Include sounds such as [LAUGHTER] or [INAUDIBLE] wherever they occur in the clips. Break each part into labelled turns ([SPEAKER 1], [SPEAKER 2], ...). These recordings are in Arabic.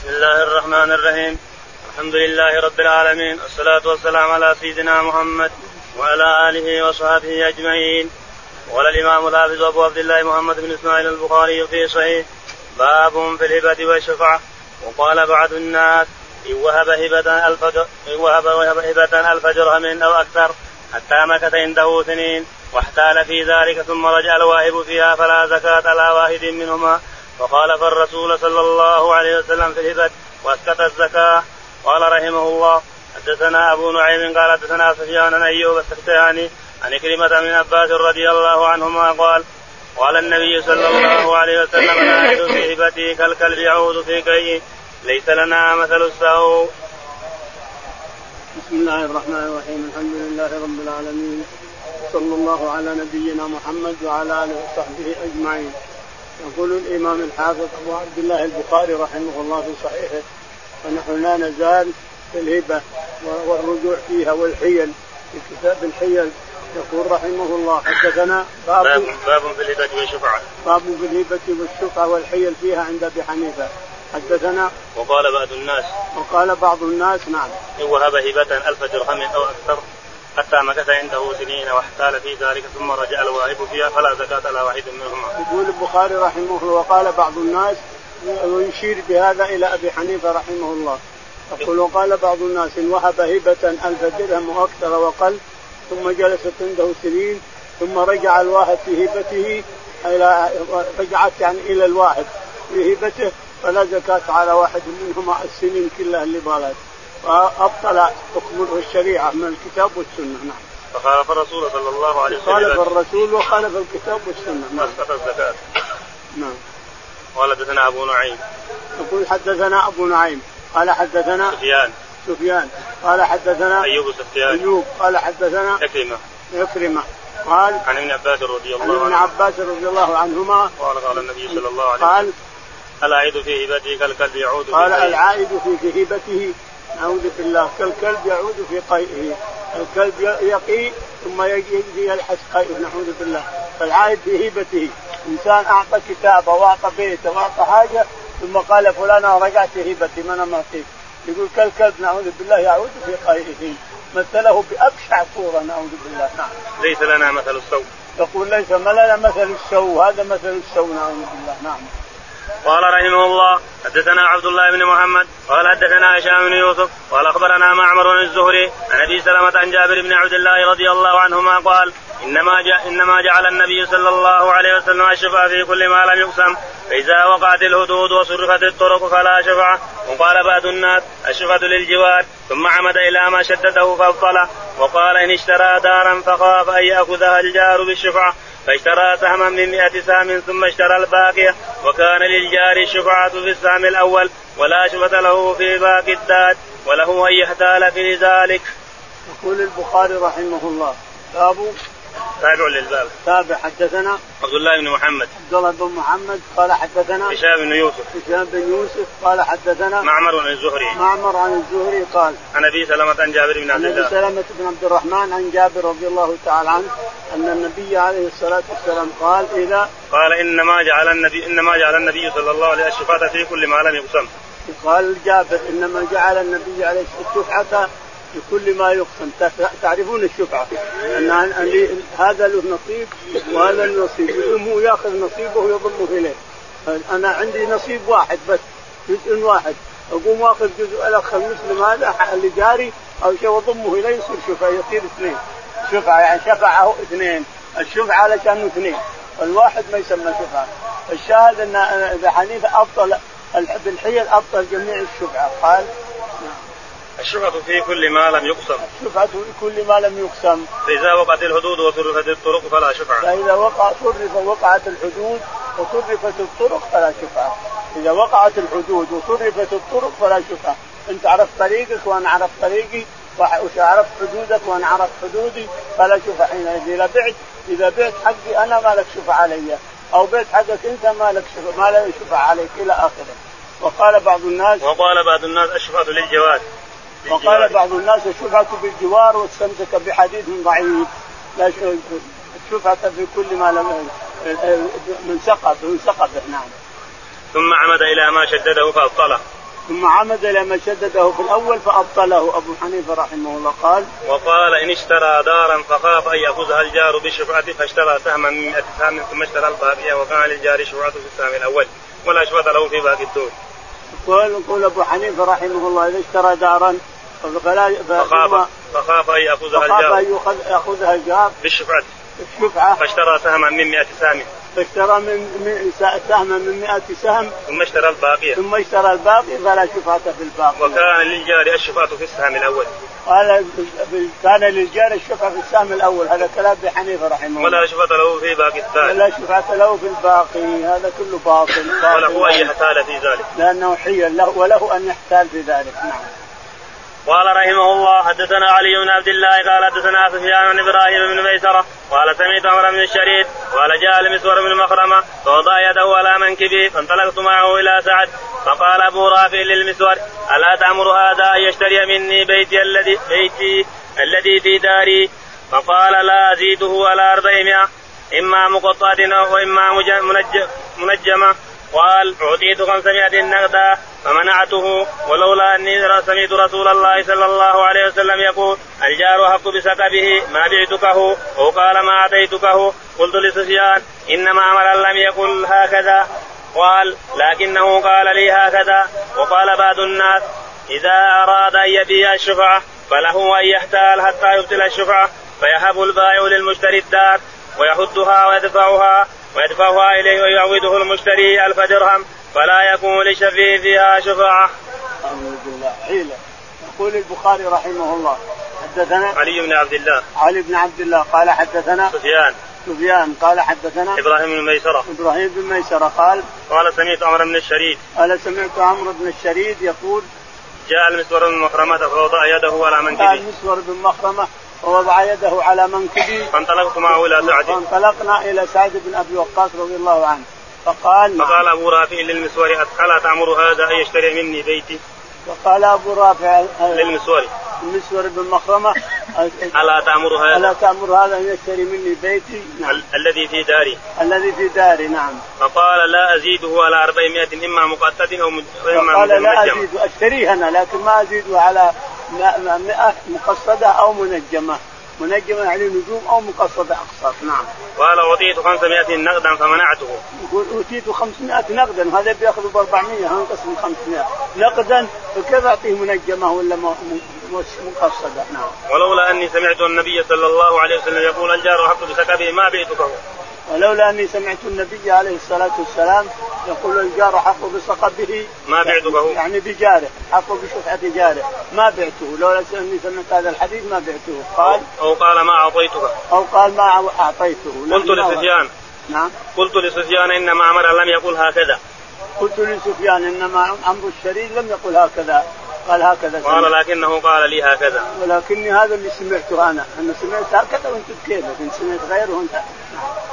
[SPEAKER 1] بسم الله الرحمن الرحيم الحمد لله رب العالمين والصلاة والسلام على سيدنا محمد وعلى آله وصحبه أجمعين قال الإمام الحافظ أبو عبد الله محمد بن إسماعيل البخاري في صحيح باب في الهبة والشفعة وقال بعض الناس إن وهب هبة ألف إن وهب هبة ألف درهم أو أكثر حتى مكث عنده سنين واحتال في ذلك ثم رجع الواهب فيها فلا زكاة على واحد منهما وخالف الرسول صلى الله عليه وسلم في الهبة واسكت الزكاة قال رحمه الله حدثنا أبو نعيم قال حدثنا سفيان عن أيوب السختياني عن كلمة من عباس رضي الله عنهما قال قال النبي صلى الله عليه وسلم لا في هبتي كالكلب يعود في كيه ليس لنا مثل السوء
[SPEAKER 2] بسم الله الرحمن الرحيم الحمد لله رب العالمين صلى الله على نبينا محمد وعلى اله وصحبه اجمعين يقول الامام الحافظ ابو عبد الله البخاري رحمه الله في صحيحه ونحن لا نزال في الهبه والرجوع فيها والحيل في كتاب الحيل يقول رحمه الله حدثنا
[SPEAKER 1] باب باب في الهبه والشفعه
[SPEAKER 2] باب في الهبه والشفعه والحيل فيها عند ابي حنيفه حدثنا
[SPEAKER 1] وقال بعض الناس
[SPEAKER 2] وقال بعض الناس نعم
[SPEAKER 1] إن وهب هبة ألف درهم أو أكثر حتى مكث عنده سنين واحتال في ذلك ثم رجع الواهب فيها فلا زكاة على واحد منهما.
[SPEAKER 2] يقول البخاري رحمه الله وقال بعض الناس ويشير بهذا إلى أبي حنيفة رحمه الله. يقول وقال بعض الناس إن وهب هبة ألف درهم وأكثر وقل ثم جلست عنده سنين ثم رجع الواهب في هبته إلى رجعت يعني إلى الواهب في هبته فلا زكاة على واحد منهما السنين كلها اللي بالت وابطل حكم الشريعه من الكتاب والسنه نعم.
[SPEAKER 1] فخالف الرسول صلى الله عليه وسلم
[SPEAKER 2] خالف الرسول وخالف الكتاب والسنه نعم.
[SPEAKER 1] اسقط الزكاة
[SPEAKER 2] نعم.
[SPEAKER 1] قال حدثنا أبو نعيم
[SPEAKER 2] يقول حدثنا ابو نعيم قال حدثنا
[SPEAKER 1] سفيان
[SPEAKER 2] سفيان قال حدثنا
[SPEAKER 1] أيوب السفيان
[SPEAKER 2] ايوب قال حدثنا
[SPEAKER 1] عكرمة
[SPEAKER 2] عكرمه قال
[SPEAKER 1] عن ابن عباس رضي
[SPEAKER 2] عن
[SPEAKER 1] الله
[SPEAKER 2] ابن
[SPEAKER 1] عنه
[SPEAKER 2] عباس رضي الله عنهما
[SPEAKER 1] قال قال النبي صلى الله عليه وسلم
[SPEAKER 2] قال
[SPEAKER 1] العائد في هبته كالكلب يعود في
[SPEAKER 2] قال
[SPEAKER 1] حيه.
[SPEAKER 2] العائد في هبته نعوذ بالله كالكلب يعود في قيئه الكلب يقي ثم يجي يلحس قيئه نعوذ بالله فالعائد في هبته انسان اعطى كتابه واعطى بيته واعطى حاجه ثم قال فلان أنا رجعت هبتي ما انا ما فيك يقول كالكلب نعوذ بالله يعود في قيئه مثله بابشع صوره نعوذ بالله نعم
[SPEAKER 1] ليس لنا مثل السوء
[SPEAKER 2] يقول ليس ما لنا مثل السوء هذا مثل السوء نعوذ بالله نعم
[SPEAKER 1] قال رحمه الله حدثنا عبد الله بن محمد قال حدثنا هشام بن يوسف قال اخبرنا معمر بن الزهري عن ابي سلمه عن جابر بن عبد الله رضي الله عنهما قال انما جاء انما جعل النبي صلى الله عليه وسلم الشفاء في كل ما لم يقسم فاذا وقعت الحدود وصرفت الطرق فلا شفعه وقال بعض الناس الشفعه للجوار ثم عمد الى ما شدده فابطله وقال ان اشترى دارا فخاف ان ياخذها الجار بالشفعه فاشترى سهما من مئة سهم ثم اشترى الباقية وكان للجار الشفعة في السهم الأول ولا شفعة له في باقي الداد وله أن يحتال في ذلك
[SPEAKER 2] يقول البخاري رحمه الله باب
[SPEAKER 1] تابع للباب
[SPEAKER 2] تابع حدثنا
[SPEAKER 1] عبد الله بن محمد
[SPEAKER 2] عبد الله بن محمد قال حدثنا
[SPEAKER 1] هشام بن يوسف
[SPEAKER 2] هشام بن يوسف قال حدثنا
[SPEAKER 1] معمر بن الزهري
[SPEAKER 2] معمر عن الزهري قال
[SPEAKER 1] عن أبي سلمة عن جابر بن عبد
[SPEAKER 2] عن ابي
[SPEAKER 1] الله
[SPEAKER 2] سلمه بن عبد الرحمن عن جابر رضي الله تعالى عنه ان النبي عليه الصلاه والسلام قال اذا
[SPEAKER 1] قال إنما جعل النبي إنما جعل النبي صلى الله عليه وسلم الشفعة في كل ما لم يقسم
[SPEAKER 2] قال جابر انما جعل النبي عليه الصلاه الشفعه لكل ما يقسم تعرفون الشفعه ان أن هذا له نصيب وهذا له نصيب يضمه ياخذ نصيبه ويضمه اليه انا عندي نصيب واحد بس جزء واحد اقوم واخذ جزء الاخر المسلم هذا لجاري او شيء واضمه اليه يصير شفعه يصير اثنين شفعه يعني شفعه اثنين الشفعه على كانه اثنين الواحد ما يسمى شفعه الشاهد ان ابي حنيفه ابطل الح- بالحيل ابطل جميع الشفعه قال
[SPEAKER 1] الشفعة في كل ما لم يقسم
[SPEAKER 2] شفعه لكل ما لم يقسم
[SPEAKER 1] فإذا وقعت الحدود وصرفت الطرق فلا شفعة
[SPEAKER 2] فإذا وقع صرف وقعت الحدود وصرفت الطرق فلا شفعة إذا وقعت الحدود وصرفت الطرق فلا شفعة أنت عرفت طريقك وأنا عرفت طريقي وعرفت حدودك وأنا عرفت حدودي فلا شفعة حينئذ إذا بعت إذا بعت حقي أنا ما لك شفعة علي أو بعت حقك أنت ما لك شفعة ما لك شفعة عليك إلى آخره وقال بعض الناس
[SPEAKER 1] وقال بعض الناس الشفعة للجوار
[SPEAKER 2] وقال بعض الناس الشفعة بالجوار واستمسك بحديث ضعيف لا ش- الشفعة في كل ما لم من سقط من سقط نعم
[SPEAKER 1] ثم عمد إلى ما شدده فأبطله
[SPEAKER 2] ثم عمد الى ما شدده في الاول فابطله ابو حنيفه رحمه الله قال
[SPEAKER 1] وقال إن اشترى دارا فخاف أن يفوزها الجار بشفعته فاشترى سهما من 100 سهم ثم اشترى الباقية وكان للجار شفعة في السهم الأول ولا شفعة له في باقي الدور
[SPEAKER 2] يقول يقول ابو حنيفه رحمه الله اذا اشترى دارا فلا
[SPEAKER 1] فخاف
[SPEAKER 2] فإما-
[SPEAKER 1] فخاف أن يفوزها
[SPEAKER 2] فخاف ان
[SPEAKER 1] الجار
[SPEAKER 2] يؤخذ- ياخذها الجار
[SPEAKER 1] بالشفعة
[SPEAKER 2] الشفعه
[SPEAKER 1] فاشترى سهما من 100 سهم
[SPEAKER 2] فاشترى من من س- سهما من 100 سهم
[SPEAKER 1] ثم اشترى الباقية
[SPEAKER 2] ثم اشترى الباقي فلا شفعة في الباقي
[SPEAKER 1] وكان للجار الشفعة في السهم الأول
[SPEAKER 2] قال كان للجار الشفعة في السهم الأول هذا كلام أبي حنيفة رحمه
[SPEAKER 1] ولا
[SPEAKER 2] الله
[SPEAKER 1] شفعة له في باقي الثاني
[SPEAKER 2] ولا شفعة له في الباقي هذا كله باطل
[SPEAKER 1] وله أن
[SPEAKER 2] باطل
[SPEAKER 1] يحتال في ذلك
[SPEAKER 2] لأنه حيل له وله أن يحتال في ذلك نعم
[SPEAKER 1] قال رحمه الله حدثنا علي بن عبد الله قال حدثنا سفيان بن ابراهيم بن ميسره قال سمعت عمر بن الشريد قال جاء المسور بن مخرمه فوضع يده على منكبه فانطلقت معه الى سعد فقال ابو رافع للمسور الا تامر هذا ان يشتري مني بيتي الذي بيتي الذي في داري فقال لا ازيده على 400 اما مقطعه واما مج- منج- منجمه قال أعطيت 500 نقدا فمنعته ولولا أني سمعت رسول الله صلى الله عليه وسلم يقول الجار أحق بسكبه ما بعتكه أو قال ما أعطيتكه قلت لسفيان إنما أمرا لم يقل هكذا قال لكنه قال لي هكذا وقال بعض الناس إذا أراد أن يبيع الشفعة فله أن يحتال حتى يبطل الشفعة فيهب البائع للمشتري الدار ويحدها ويدفعها ويدفعها إليه ويعوده المشتري ألف درهم فلا يكون لشفيع فيها شفاعة
[SPEAKER 2] أعوذ بالله حيلة يقول البخاري رحمه الله حدثنا
[SPEAKER 1] علي بن عبد الله
[SPEAKER 2] علي بن عبد الله قال حدثنا
[SPEAKER 1] سفيان
[SPEAKER 2] سفيان قال حدثنا
[SPEAKER 1] إبراهيم بن ميسرة
[SPEAKER 2] إبراهيم بن ميسرة قال
[SPEAKER 1] قال سمعت عمر بن الشريد
[SPEAKER 2] أنا سمعت عمرو بن الشريد يقول
[SPEAKER 1] جاء المسور بن مخرمة فوضع يده على
[SPEAKER 2] قال
[SPEAKER 1] منكبه
[SPEAKER 2] مسور بن مخرمة ووضع يده على منكبي
[SPEAKER 1] فانطلقت معه إلى سعد
[SPEAKER 2] فانطلقنا الى سعد بن ابي وقاص رضي الله عنه فقال
[SPEAKER 1] فقال أبو رافع للمسور ألا تأمر هذا أن يشتري مني بيتي
[SPEAKER 2] فقال ابو رافع آه،
[SPEAKER 1] للمسور
[SPEAKER 2] المسور بن
[SPEAKER 1] [LAUGHS]
[SPEAKER 2] مخرمه آه،
[SPEAKER 1] ألا تأمر
[SPEAKER 2] الا
[SPEAKER 1] هذا
[SPEAKER 2] تامر هذا ان يشتري مني بيتي نعم
[SPEAKER 1] ال- الذي في داري
[SPEAKER 2] الذي في داري نعم
[SPEAKER 1] فقال لا أزيده على 400 إما مقتة أو مج- إما
[SPEAKER 2] فقال لا
[SPEAKER 1] طيب، مجمع
[SPEAKER 2] ازيد اشتريه انا لكن ما ازيده على 100 مقصده او منجمه منجمه يعني نجوم او مقصده اقساط نعم
[SPEAKER 1] قال أعطيت 500 نقدا فمنعته
[SPEAKER 2] يقول اوتيت 500 نقدا وهذا بياخذ ب 400 هنقسم 500 نقدا فكيف اعطيه منجمه ولا م- م- مش مقصده نعم
[SPEAKER 1] ولولا أني سمعت النبي صلى الله عليه وسلم يقول الجار أحق بسكبه ما بئتكه
[SPEAKER 2] ولولا اني سمعت النبي عليه الصلاه والسلام يقول الجار حق بصقبه
[SPEAKER 1] ما بعتكه.
[SPEAKER 2] يعني بجاره حق بشفعه جاره ما بعته لولا اني سمعت هذا الحديث ما بعته قال
[SPEAKER 1] أو قال ما أعطيتك
[SPEAKER 2] او قال ما اعطيته
[SPEAKER 1] قلت
[SPEAKER 2] لما-
[SPEAKER 1] لسفيان
[SPEAKER 2] نعم
[SPEAKER 1] قلت لسفيان إنما أمر لم يقل هكذا
[SPEAKER 2] قلت لسفيان انما عمرو الشريد لم يقل هكذا قال هكذا سمعت.
[SPEAKER 1] قال لكنه قال لي هكذا
[SPEAKER 2] ولكني هذا اللي سمعته انا، انا سمعت هكذا وانت بكيفك، ان سمعت غيره وانت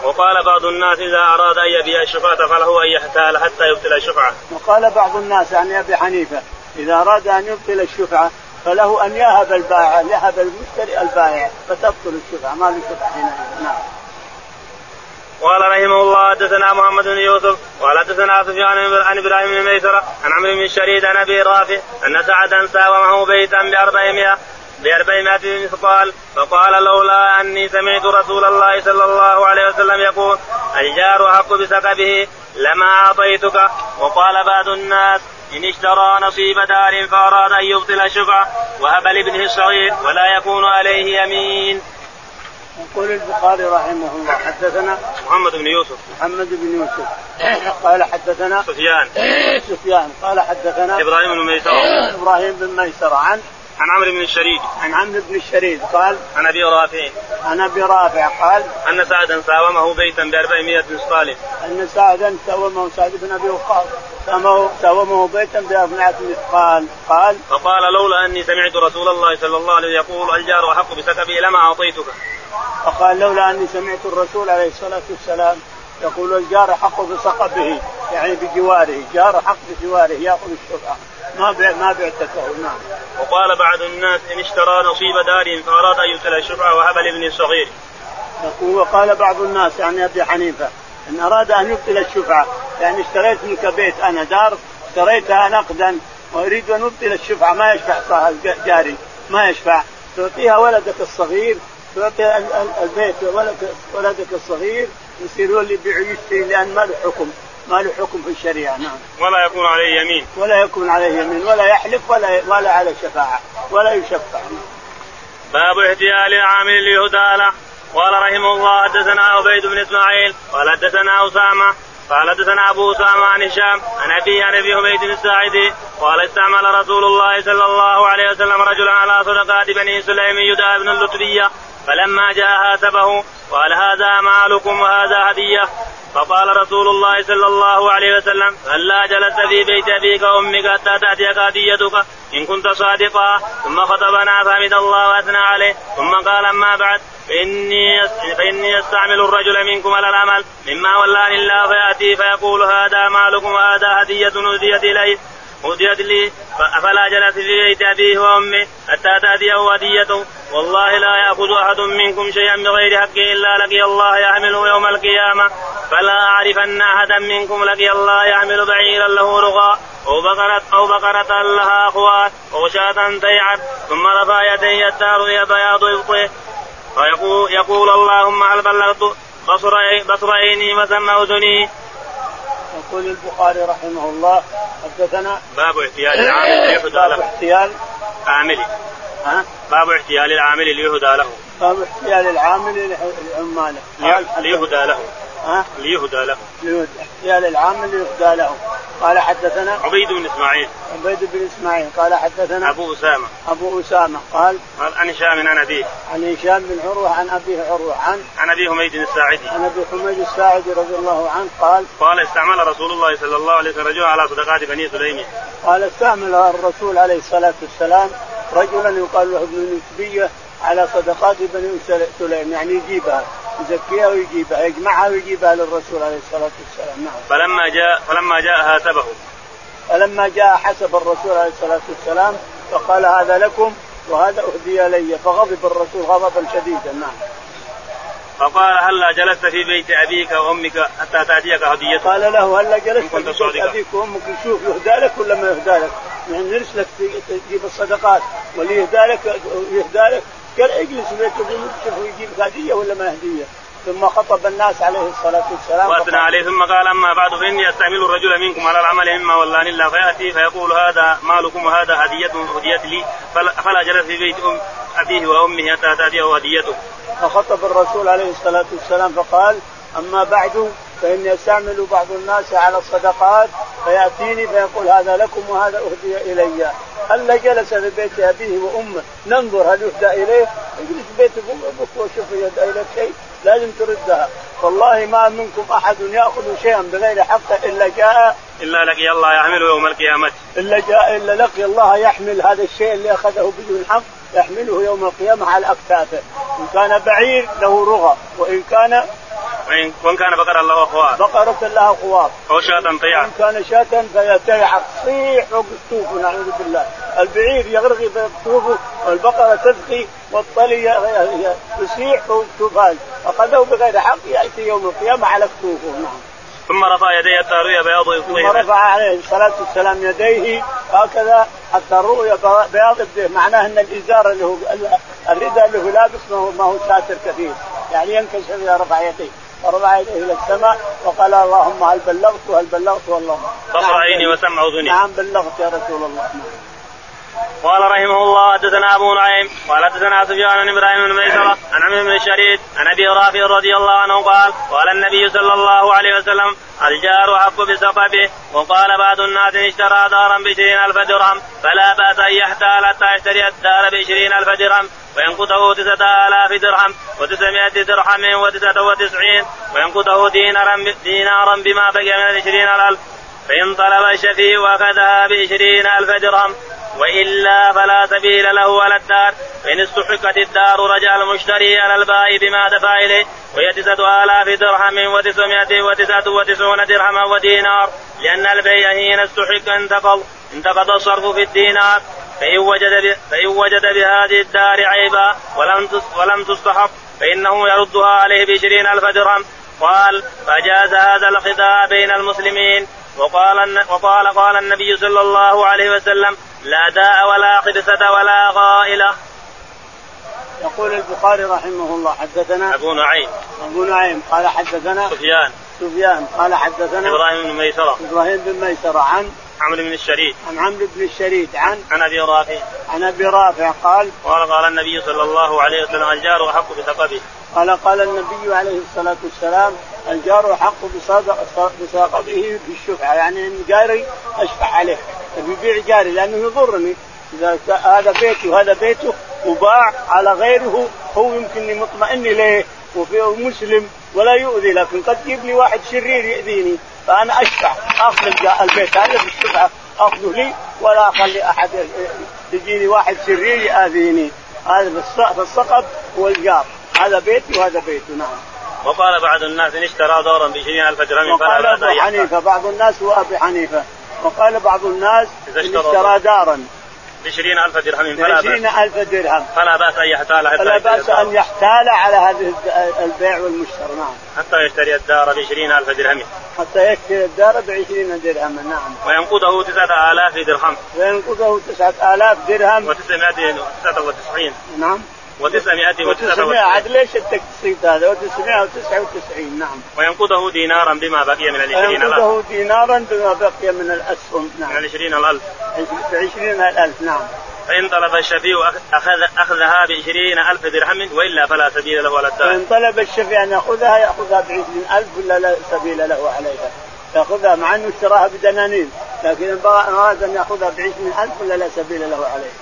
[SPEAKER 1] وقال بعض الناس إذا أراد أن يبيع الشفعة فله أن يحتال حتى يبطل الشفعة
[SPEAKER 2] وقال بعض الناس عن ابي حنيفه اذا اراد ان يبطل الشفعه فله ان يهب البائع، يهب المشتري البائع فتبطل الشفعه، ما في شفعه هنا نعم.
[SPEAKER 1] قال رحمه الله حدثنا محمد بن يوسف قال حدثنا سفيان عن ابراهيم بن ميسره عن عمرو بن شريد عن ابي رافع ان سعدا ساوى معه بيتا ب 400 ب 400 مثقال فقال لولا اني سمعت رسول الله صلى الله عليه وسلم يقول الجار احق بسكبه لما اعطيتك وقال بعض الناس إن اشترى نصيب دار فأراد أن يبطل الشفعة وهب لابنه الصغير ولا يكون عليه يمين.
[SPEAKER 2] يقول البخاري رحمه الله حدثنا
[SPEAKER 1] محمد بن يوسف
[SPEAKER 2] محمد بن يوسف قال حدثنا
[SPEAKER 1] سفيان
[SPEAKER 2] سفيان قال حدثنا
[SPEAKER 1] إبراهيم بن
[SPEAKER 2] أيوة.
[SPEAKER 1] ميسره
[SPEAKER 2] ابراهيم بن ميسره عن
[SPEAKER 1] عن عمرو بن الشريد
[SPEAKER 2] عن عمرو بن الشريد قال
[SPEAKER 1] عن ابي رافع
[SPEAKER 2] عن ابي رافع قال
[SPEAKER 1] ان سعدا ساومه بيتا ب 400 مثقال
[SPEAKER 2] ان سعدا ساومه سعد بن ابي وقاص ساومه ساومه بيتا ب 400 مثقال قال
[SPEAKER 1] فقال لولا اني سمعت رسول الله صلى الله عليه وسلم يقول الجار احق بسكبي لما اعطيتك
[SPEAKER 2] فقال لولا اني سمعت الرسول عليه الصلاه والسلام يقول الجار حق بصقبه يعني بجواره جار حق بجواره ياخذ الشفعه ما بع ما بعتكه نعم
[SPEAKER 1] وقال بعض الناس ان اشترى نصيب دار فاراد ان يبتلى الشفعه وهب لابنه الصغير
[SPEAKER 2] يقول وقال بعض الناس يعني ابي حنيفه ان اراد ان يبطل الشفعه يعني اشتريت منك بيت انا دار اشتريتها نقدا واريد ان ابطل الشفعه ما يشفع صاحب جاري ما يشفع تعطيها ولدك الصغير تعطي ال- ال- البيت ولدك ولدك الصغير يصير هو اللي يبيع ويشتري لان ما له حكم ما له حكم في الشريعه نعم
[SPEAKER 1] ولا يكون عليه يمين
[SPEAKER 2] ولا يكون عليه يمين ولا يحلف ولا ولا على شفاعه ولا يشفع
[SPEAKER 1] باب احتيال العامل ليهداله قال رحمه الله حدثنا عبيد بن اسماعيل قال حدثنا اسامه قال حدثنا ابو اسامه عن هشام عن ابي عن ابي عبيد الساعدي قال استعمل رسول الله صلى الله عليه وسلم رجلا على صدقات بني سليم يدعى ابن اللطبيه فلما جاء هاتفه قال هذا مالكم وهذا هديه فقال رسول الله صلى الله عليه وسلم ألا جلست في بيت أبيك وأمك حتى تأتيك هديتك إن كنت صادقا ثم خطبنا فحمد الله وأثنى عليه ثم قال أما بعد فإني فإني أستعمل الرجل منكم على العمل مما ولاني الله فيأتي فيقول هذا مالكم وهذا هدية أهديت إليه أهديت لي أفلا جلس في بيت أبيه وأمه حتى تأتيه هديته والله لا يأخذ أحد منكم شيئا بغير حقه إلا لقي الله يحمله يوم القيامة فلا أعرفن أحدا منكم لقي الله يحمل بعيرا له رغاء أو بقرة أو بقرة لها خوات أو شاة تيعت ثم رفع يديه حتى رؤي بياض إبطه فيقول يقول اللهم هل بلغت بصر بصر عيني وسم أذني
[SPEAKER 2] يقول البخاري رحمه الله حدثنا
[SPEAKER 1] باب احتيال يعني العامل ليهدى
[SPEAKER 2] باب
[SPEAKER 1] له
[SPEAKER 2] إيه، احتيال
[SPEAKER 1] عاملي
[SPEAKER 2] ها
[SPEAKER 1] باب احتيال العامل ليهدى له
[SPEAKER 2] باب احتيال العامل لعماله قال حدث-
[SPEAKER 1] ليهدى له
[SPEAKER 2] ها
[SPEAKER 1] ليهدى له
[SPEAKER 2] ليهدى احتيال العامل ليهدى له قال حدثنا
[SPEAKER 1] عبيد بن اسماعيل
[SPEAKER 2] عبيد بن اسماعيل قال حدثنا
[SPEAKER 1] ابو اسامه
[SPEAKER 2] ابو اسامه قال
[SPEAKER 1] قال عن هشام عن ابيه
[SPEAKER 2] عن هشام بن عروه عن ابيه عروه عن
[SPEAKER 1] عن ابي حميد الساعدي
[SPEAKER 2] عن ابي حميد الساعدي رضي الله عنه قال
[SPEAKER 1] قال استعمل رسول الله صلى الله عليه وسلم رجلا على صدقات بني سليم
[SPEAKER 2] قال استعمل الرسول عليه الصلاة والسلام رجلا يقال له ابن نسبية على صدقات بني سل- سليم يعني يجيبها يزكيها ويجيبها يجمعها ويجيبها للرسول عليه الصلاة والسلام نعم
[SPEAKER 1] فلما جاء فلما جاء هاتبه
[SPEAKER 2] فلما جاء حسب الرسول عليه الصلاة والسلام فقال هذا لكم وهذا أهدي لي فغضب الرسول غضبا شديدا نعم
[SPEAKER 1] فقال هلا جلست في بيت ابيك وامك حتى تاتيك هديتك
[SPEAKER 2] قال له هلا جلست
[SPEAKER 1] كنت
[SPEAKER 2] في بيت
[SPEAKER 1] صادقا.
[SPEAKER 2] ابيك وامك يشوف يهدى لك ولا ما يهدى لك؟ يعني يرسلك تجيب الصدقات واللي يهدى لك يهدى لك قال اجلس في بيت ابيك شوف يجيب هديه ولا ما هديه ثم خطب الناس عليه الصلاه والسلام
[SPEAKER 1] واثنى
[SPEAKER 2] فقال-
[SPEAKER 1] عليه ثم قال اما بعد فاني استعمل الرجل منكم على العمل مما ولاني الله فياتي فيقول هذا مالكم وهذا هديه هديت لي فلا فلا جلس في بيت أم ابيه وامه حتى تاتيه هديته
[SPEAKER 2] فخطب الرسول عليه الصلاة والسلام فقال أما بعد فإني أستعمل بعض الناس على الصدقات فيأتيني فيقول هذا لكم وهذا أهدي إلي هل جلس في بيت أبيه وأمه ننظر هل يهدى إليه اجلس في بيت أبوك وشوف يهدى إليك شيء لازم تردها والله ما منكم أحد يأخذ شيئا بغير حقه إلا جاء
[SPEAKER 1] الا لقي الله يحمله يوم القيامه
[SPEAKER 2] إلا جاء إلا لقي الله يحمل هذا الشيء اللي أخذه بدون حق يحمله يوم القيامة على أكتافه إن كان بعير له رغى وإن كان
[SPEAKER 1] وإن وإن كان فقد الله أخوات
[SPEAKER 2] بقرة لها خوار
[SPEAKER 1] أو شاة طيعة
[SPEAKER 2] إن كان شاة فيتيح تصيح فوق السوف نعوذ بالله البعير يغرغي بطوفه والبقرة تبكي والطلي ي- ي- يصيح فوق السوفان أخذه بغير حق يأتي يوم القيامة على كتوفه نعم
[SPEAKER 1] ثم رفع يديه التاروية بياض
[SPEAKER 2] ثم
[SPEAKER 1] يطلقها
[SPEAKER 2] رفع عليه الصلاة والسلام يديه هكذا حتى رؤي بياض يديه معناه أن الإزار اللي هو الرداء اللي هو لابس ما هو, ما هو ساتر كثير يعني ينكشف إذا رفع يديه فرفع يديه إلى السماء وقال اللهم هل بلغت هل بلغت والله
[SPEAKER 1] بصر عيني وسمع أذني
[SPEAKER 2] نعم بلغت يا رسول الله نعم.
[SPEAKER 1] قال رحمه الله حدثنا ابو نعيم قال حدثنا سفيان بن ابراهيم بن ميسره عن عمرو بن شريد عن ابي رافع رضي الله عنه قال قال النبي صلى الله عليه وسلم الجار حق بسببه وقال بعض الناس اشترى دارا بعشرين الف درهم فلا باس ان يحتال حتى يشتري الدار بعشرين الف درهم وينقذه تسعة آلاف درهم وتسعمائة درهم وتسعة وتسعين وينقذه دينارا دينارا بما بقي من العشرين الألف فإن طلب الشفيع أخذها بعشرين ألف درهم وإلا فلا سبيل له على الدار فإن استحقت الدار رجع المشتري على البائع بما دفع إليه وهي تسعة آلاف درهم وتسعمائة وتسعة وتسعون درهما ودينار لأن البيع حين استحق انتقض انتقض الصرف في الدينار فإن وجد ب- فإن وجد بهذه الدار عيبا ولم تس- ولم تستحق فإنه يردها عليه بعشرين ألف درهم قال فجاز هذا الخداع بين المسلمين وقال وقال قال النبي صلى الله عليه وسلم لا داء ولا خبثة ولا غائلة
[SPEAKER 2] يقول البخاري رحمه الله حدثنا
[SPEAKER 1] أبو نعيم
[SPEAKER 2] ابو نعيم قال حدثنا
[SPEAKER 1] سفيان
[SPEAKER 2] سفيان قال حدثنا
[SPEAKER 1] إبراهيم بن ميسرة
[SPEAKER 2] ابراهيم بن ميسره عن
[SPEAKER 1] عمرو بن الشريف
[SPEAKER 2] عن عمرو بن الشريد عن
[SPEAKER 1] عن أبي رافع
[SPEAKER 2] عن ابي رافع قال
[SPEAKER 1] قال قال النبي صلى الله عليه وسلم الجار أحق بثقبه
[SPEAKER 2] قال قال النبي عليه الصلاة والسلام الجار حق بصدق- بصدقته في الشفعة يعني إن جاري أشفع عليه أبي يبيع جاري لأنه يضرني إذا ك- هذا بيتي وهذا بيته وباع على غيره هو يمكن مطمئن إليه وفي مسلم ولا يؤذي لكن قد يجيب لي واحد شرير يؤذيني فأنا أشفع أخذ الج- البيت هذا في الشفعة أخذه لي ولا أخلي أحد ي- ي- يجيني واحد شرير يؤذيني هذا بالص- بالصقب هو الجار هذا بيتي وهذا بيته نعم
[SPEAKER 1] وقال بعض الناس إن اشترى دورا بعشرين ألف درهم فلا
[SPEAKER 2] وقال
[SPEAKER 1] بأس أن
[SPEAKER 2] ابو
[SPEAKER 1] يحفظ.
[SPEAKER 2] حنيفه بعض الناس هو ابي حنيفه وقال بعض الناس
[SPEAKER 1] إذا
[SPEAKER 2] إن
[SPEAKER 1] اشترى
[SPEAKER 2] اشترى دارا
[SPEAKER 1] بعشرين ألف درهم فلا
[SPEAKER 2] بعشرين
[SPEAKER 1] بأس
[SPEAKER 2] ألف درهم
[SPEAKER 1] فلا بأس أن يحتال حتى
[SPEAKER 2] فلا
[SPEAKER 1] يشتري
[SPEAKER 2] بأس أن
[SPEAKER 1] الدار.
[SPEAKER 2] يحتال على هذه الد- البيع والمشترى نعم
[SPEAKER 1] حتى يشتري الدار بعشرين ألف درهم
[SPEAKER 2] حتى يكفي الدار بعشرين درهما نعم
[SPEAKER 1] وينقضه تسعة آلاف درهم
[SPEAKER 2] فينقذه تسعة آلاف درهم
[SPEAKER 1] وتسعمائة وتسعة وتسعين
[SPEAKER 2] نعم
[SPEAKER 1] وتسعمائة وتسعة
[SPEAKER 2] وتسعمائة عاد
[SPEAKER 1] وتسعين
[SPEAKER 2] ليش التقسيط هذا وتسعمائة وتسعة وتسعين نعم
[SPEAKER 1] وينقضه دينارا بما بقي من العشرين ألف
[SPEAKER 2] فينقذه دينارا بما بقي من الأسهم
[SPEAKER 1] من
[SPEAKER 2] نعم
[SPEAKER 1] العشرين الألف
[SPEAKER 2] بعشرين ألف نعم
[SPEAKER 1] فإن طلب الشفيع أخ- أخذ أخذها بعشرين ألف درهم وإلا فلا سبيل له على الدار
[SPEAKER 2] فإن طلب الشفيع أن يأخذها يأخذها بعشرين ألف ولا لا سبيل له عليها يأخذها مع أنه اشتراها بدنانير لكن إن بغى- أراد أن يأخذها بعشرين ألف ولا لا سبيل له عليها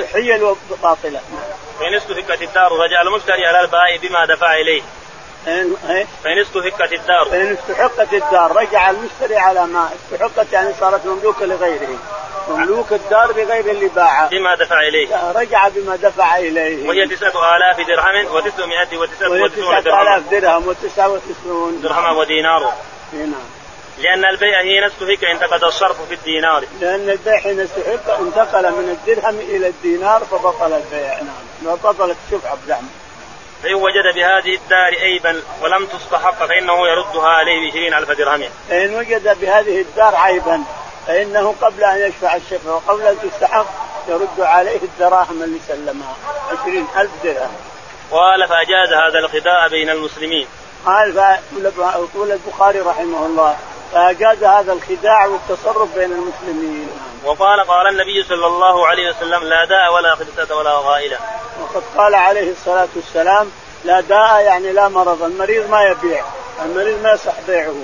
[SPEAKER 1] إيه.
[SPEAKER 2] حيل وباطلة نعم.
[SPEAKER 1] فإن استهكت الدار رجع المشتري على البائع بما دفع إليه
[SPEAKER 2] فإن إيه؟
[SPEAKER 1] فإن استهكت الدار
[SPEAKER 2] فإن استحقت الدار رجع المشتري على ما استحقت يعني صارت مملوكة لغيره مملوك الدار بغير اللي باعها
[SPEAKER 1] بما دفع إليه
[SPEAKER 2] رجع بما دفع إليه
[SPEAKER 1] وهي تسعة آلاف درهم وتسعمائة وتسعة
[SPEAKER 2] وهي
[SPEAKER 1] وتسعون
[SPEAKER 2] تسعة
[SPEAKER 1] درهما
[SPEAKER 2] آلاف درهم وتسعة وتسعون
[SPEAKER 1] درهما وديناره
[SPEAKER 2] نعم
[SPEAKER 1] لأن البيع هي نستهك انتقد الصرف في الدينار
[SPEAKER 2] لأن البيع حين استحق انتقل من الدرهم إلى الدينار فبطل البيع نعم بطلت الشفعة بزعم
[SPEAKER 1] فإن وجد بهذه الدار عيبا ولم تستحق فإنه يردها عليه بعشرين ألف درهم
[SPEAKER 2] فإن وجد بهذه الدار عيبا فإنه قبل أن يشفع الشفعة وقبل أن تستحق يرد عليه الدراهم اللي سلمها عشرين ألف درهم
[SPEAKER 1] قال فأجاز هذا الخداع بين المسلمين
[SPEAKER 2] قال يقول البخاري رحمه الله فأجاز هذا الخداع والتصرف بين المسلمين نعم.
[SPEAKER 1] وقال قال النبي صلى الله عليه وسلم لا داء ولا خبثة ولا غائلة
[SPEAKER 2] وقد قال عليه الصلاة والسلام لا داء يعني لا مرض المريض ما يبيع المريض ما يصح بيعه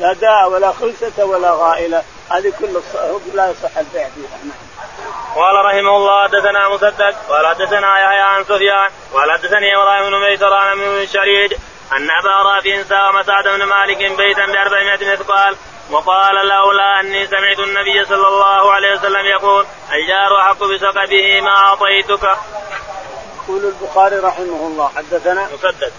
[SPEAKER 2] لا داء ولا خلسة ولا غائلة هذه كل الص- لا يصح البيع فيها نعم
[SPEAKER 1] قال رحمه الله حدثنا مسدد قال حدثنا يحيى عن سفيان قال حدثني ابراهيم بن ميسر عن عمرو بن شريد ان ابا رافع ساوم سعد بن مالك بيتا ب 400 مثقال وقال لولا اني سمعت النبي صلى الله عليه وسلم يقول الجار احق بسقبه ما اعطيتك
[SPEAKER 2] يقول البخاري رحمه الله حدثنا
[SPEAKER 1] مسدد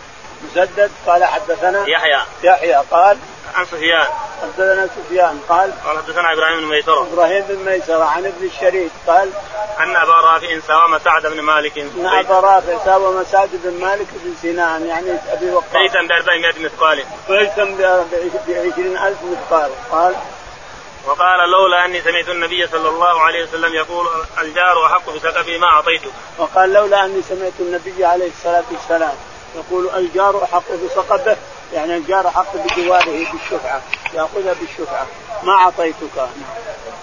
[SPEAKER 2] مسدد قال حدثنا
[SPEAKER 1] يحيى
[SPEAKER 2] يحيى قال
[SPEAKER 1] عن سفيان
[SPEAKER 2] حدثنا سفيان قال
[SPEAKER 1] قال حدثنا ابراهيم بن ميسره
[SPEAKER 2] ابراهيم بن ميسره عن ابن الشريك قال
[SPEAKER 1] ان ابا رافع ساوم سعد بن مالك
[SPEAKER 2] ان ابا رافع ساوى مساجد بن مالك بن سنان يعني ابي وقاص
[SPEAKER 1] بيتا ب 400 مثقال
[SPEAKER 2] فاجتم بعشرين ألف مثقال قال
[SPEAKER 1] وقال لولا اني سمعت النبي صلى الله عليه وسلم يقول الجار احق بسقفي ما اعطيته
[SPEAKER 2] وقال لولا اني سمعت النبي عليه الصلاه والسلام يقول الجار احق بسقبه يعني الجار احق بجواره بالشفعه ياخذها بالشفعه ما اعطيتك نعم.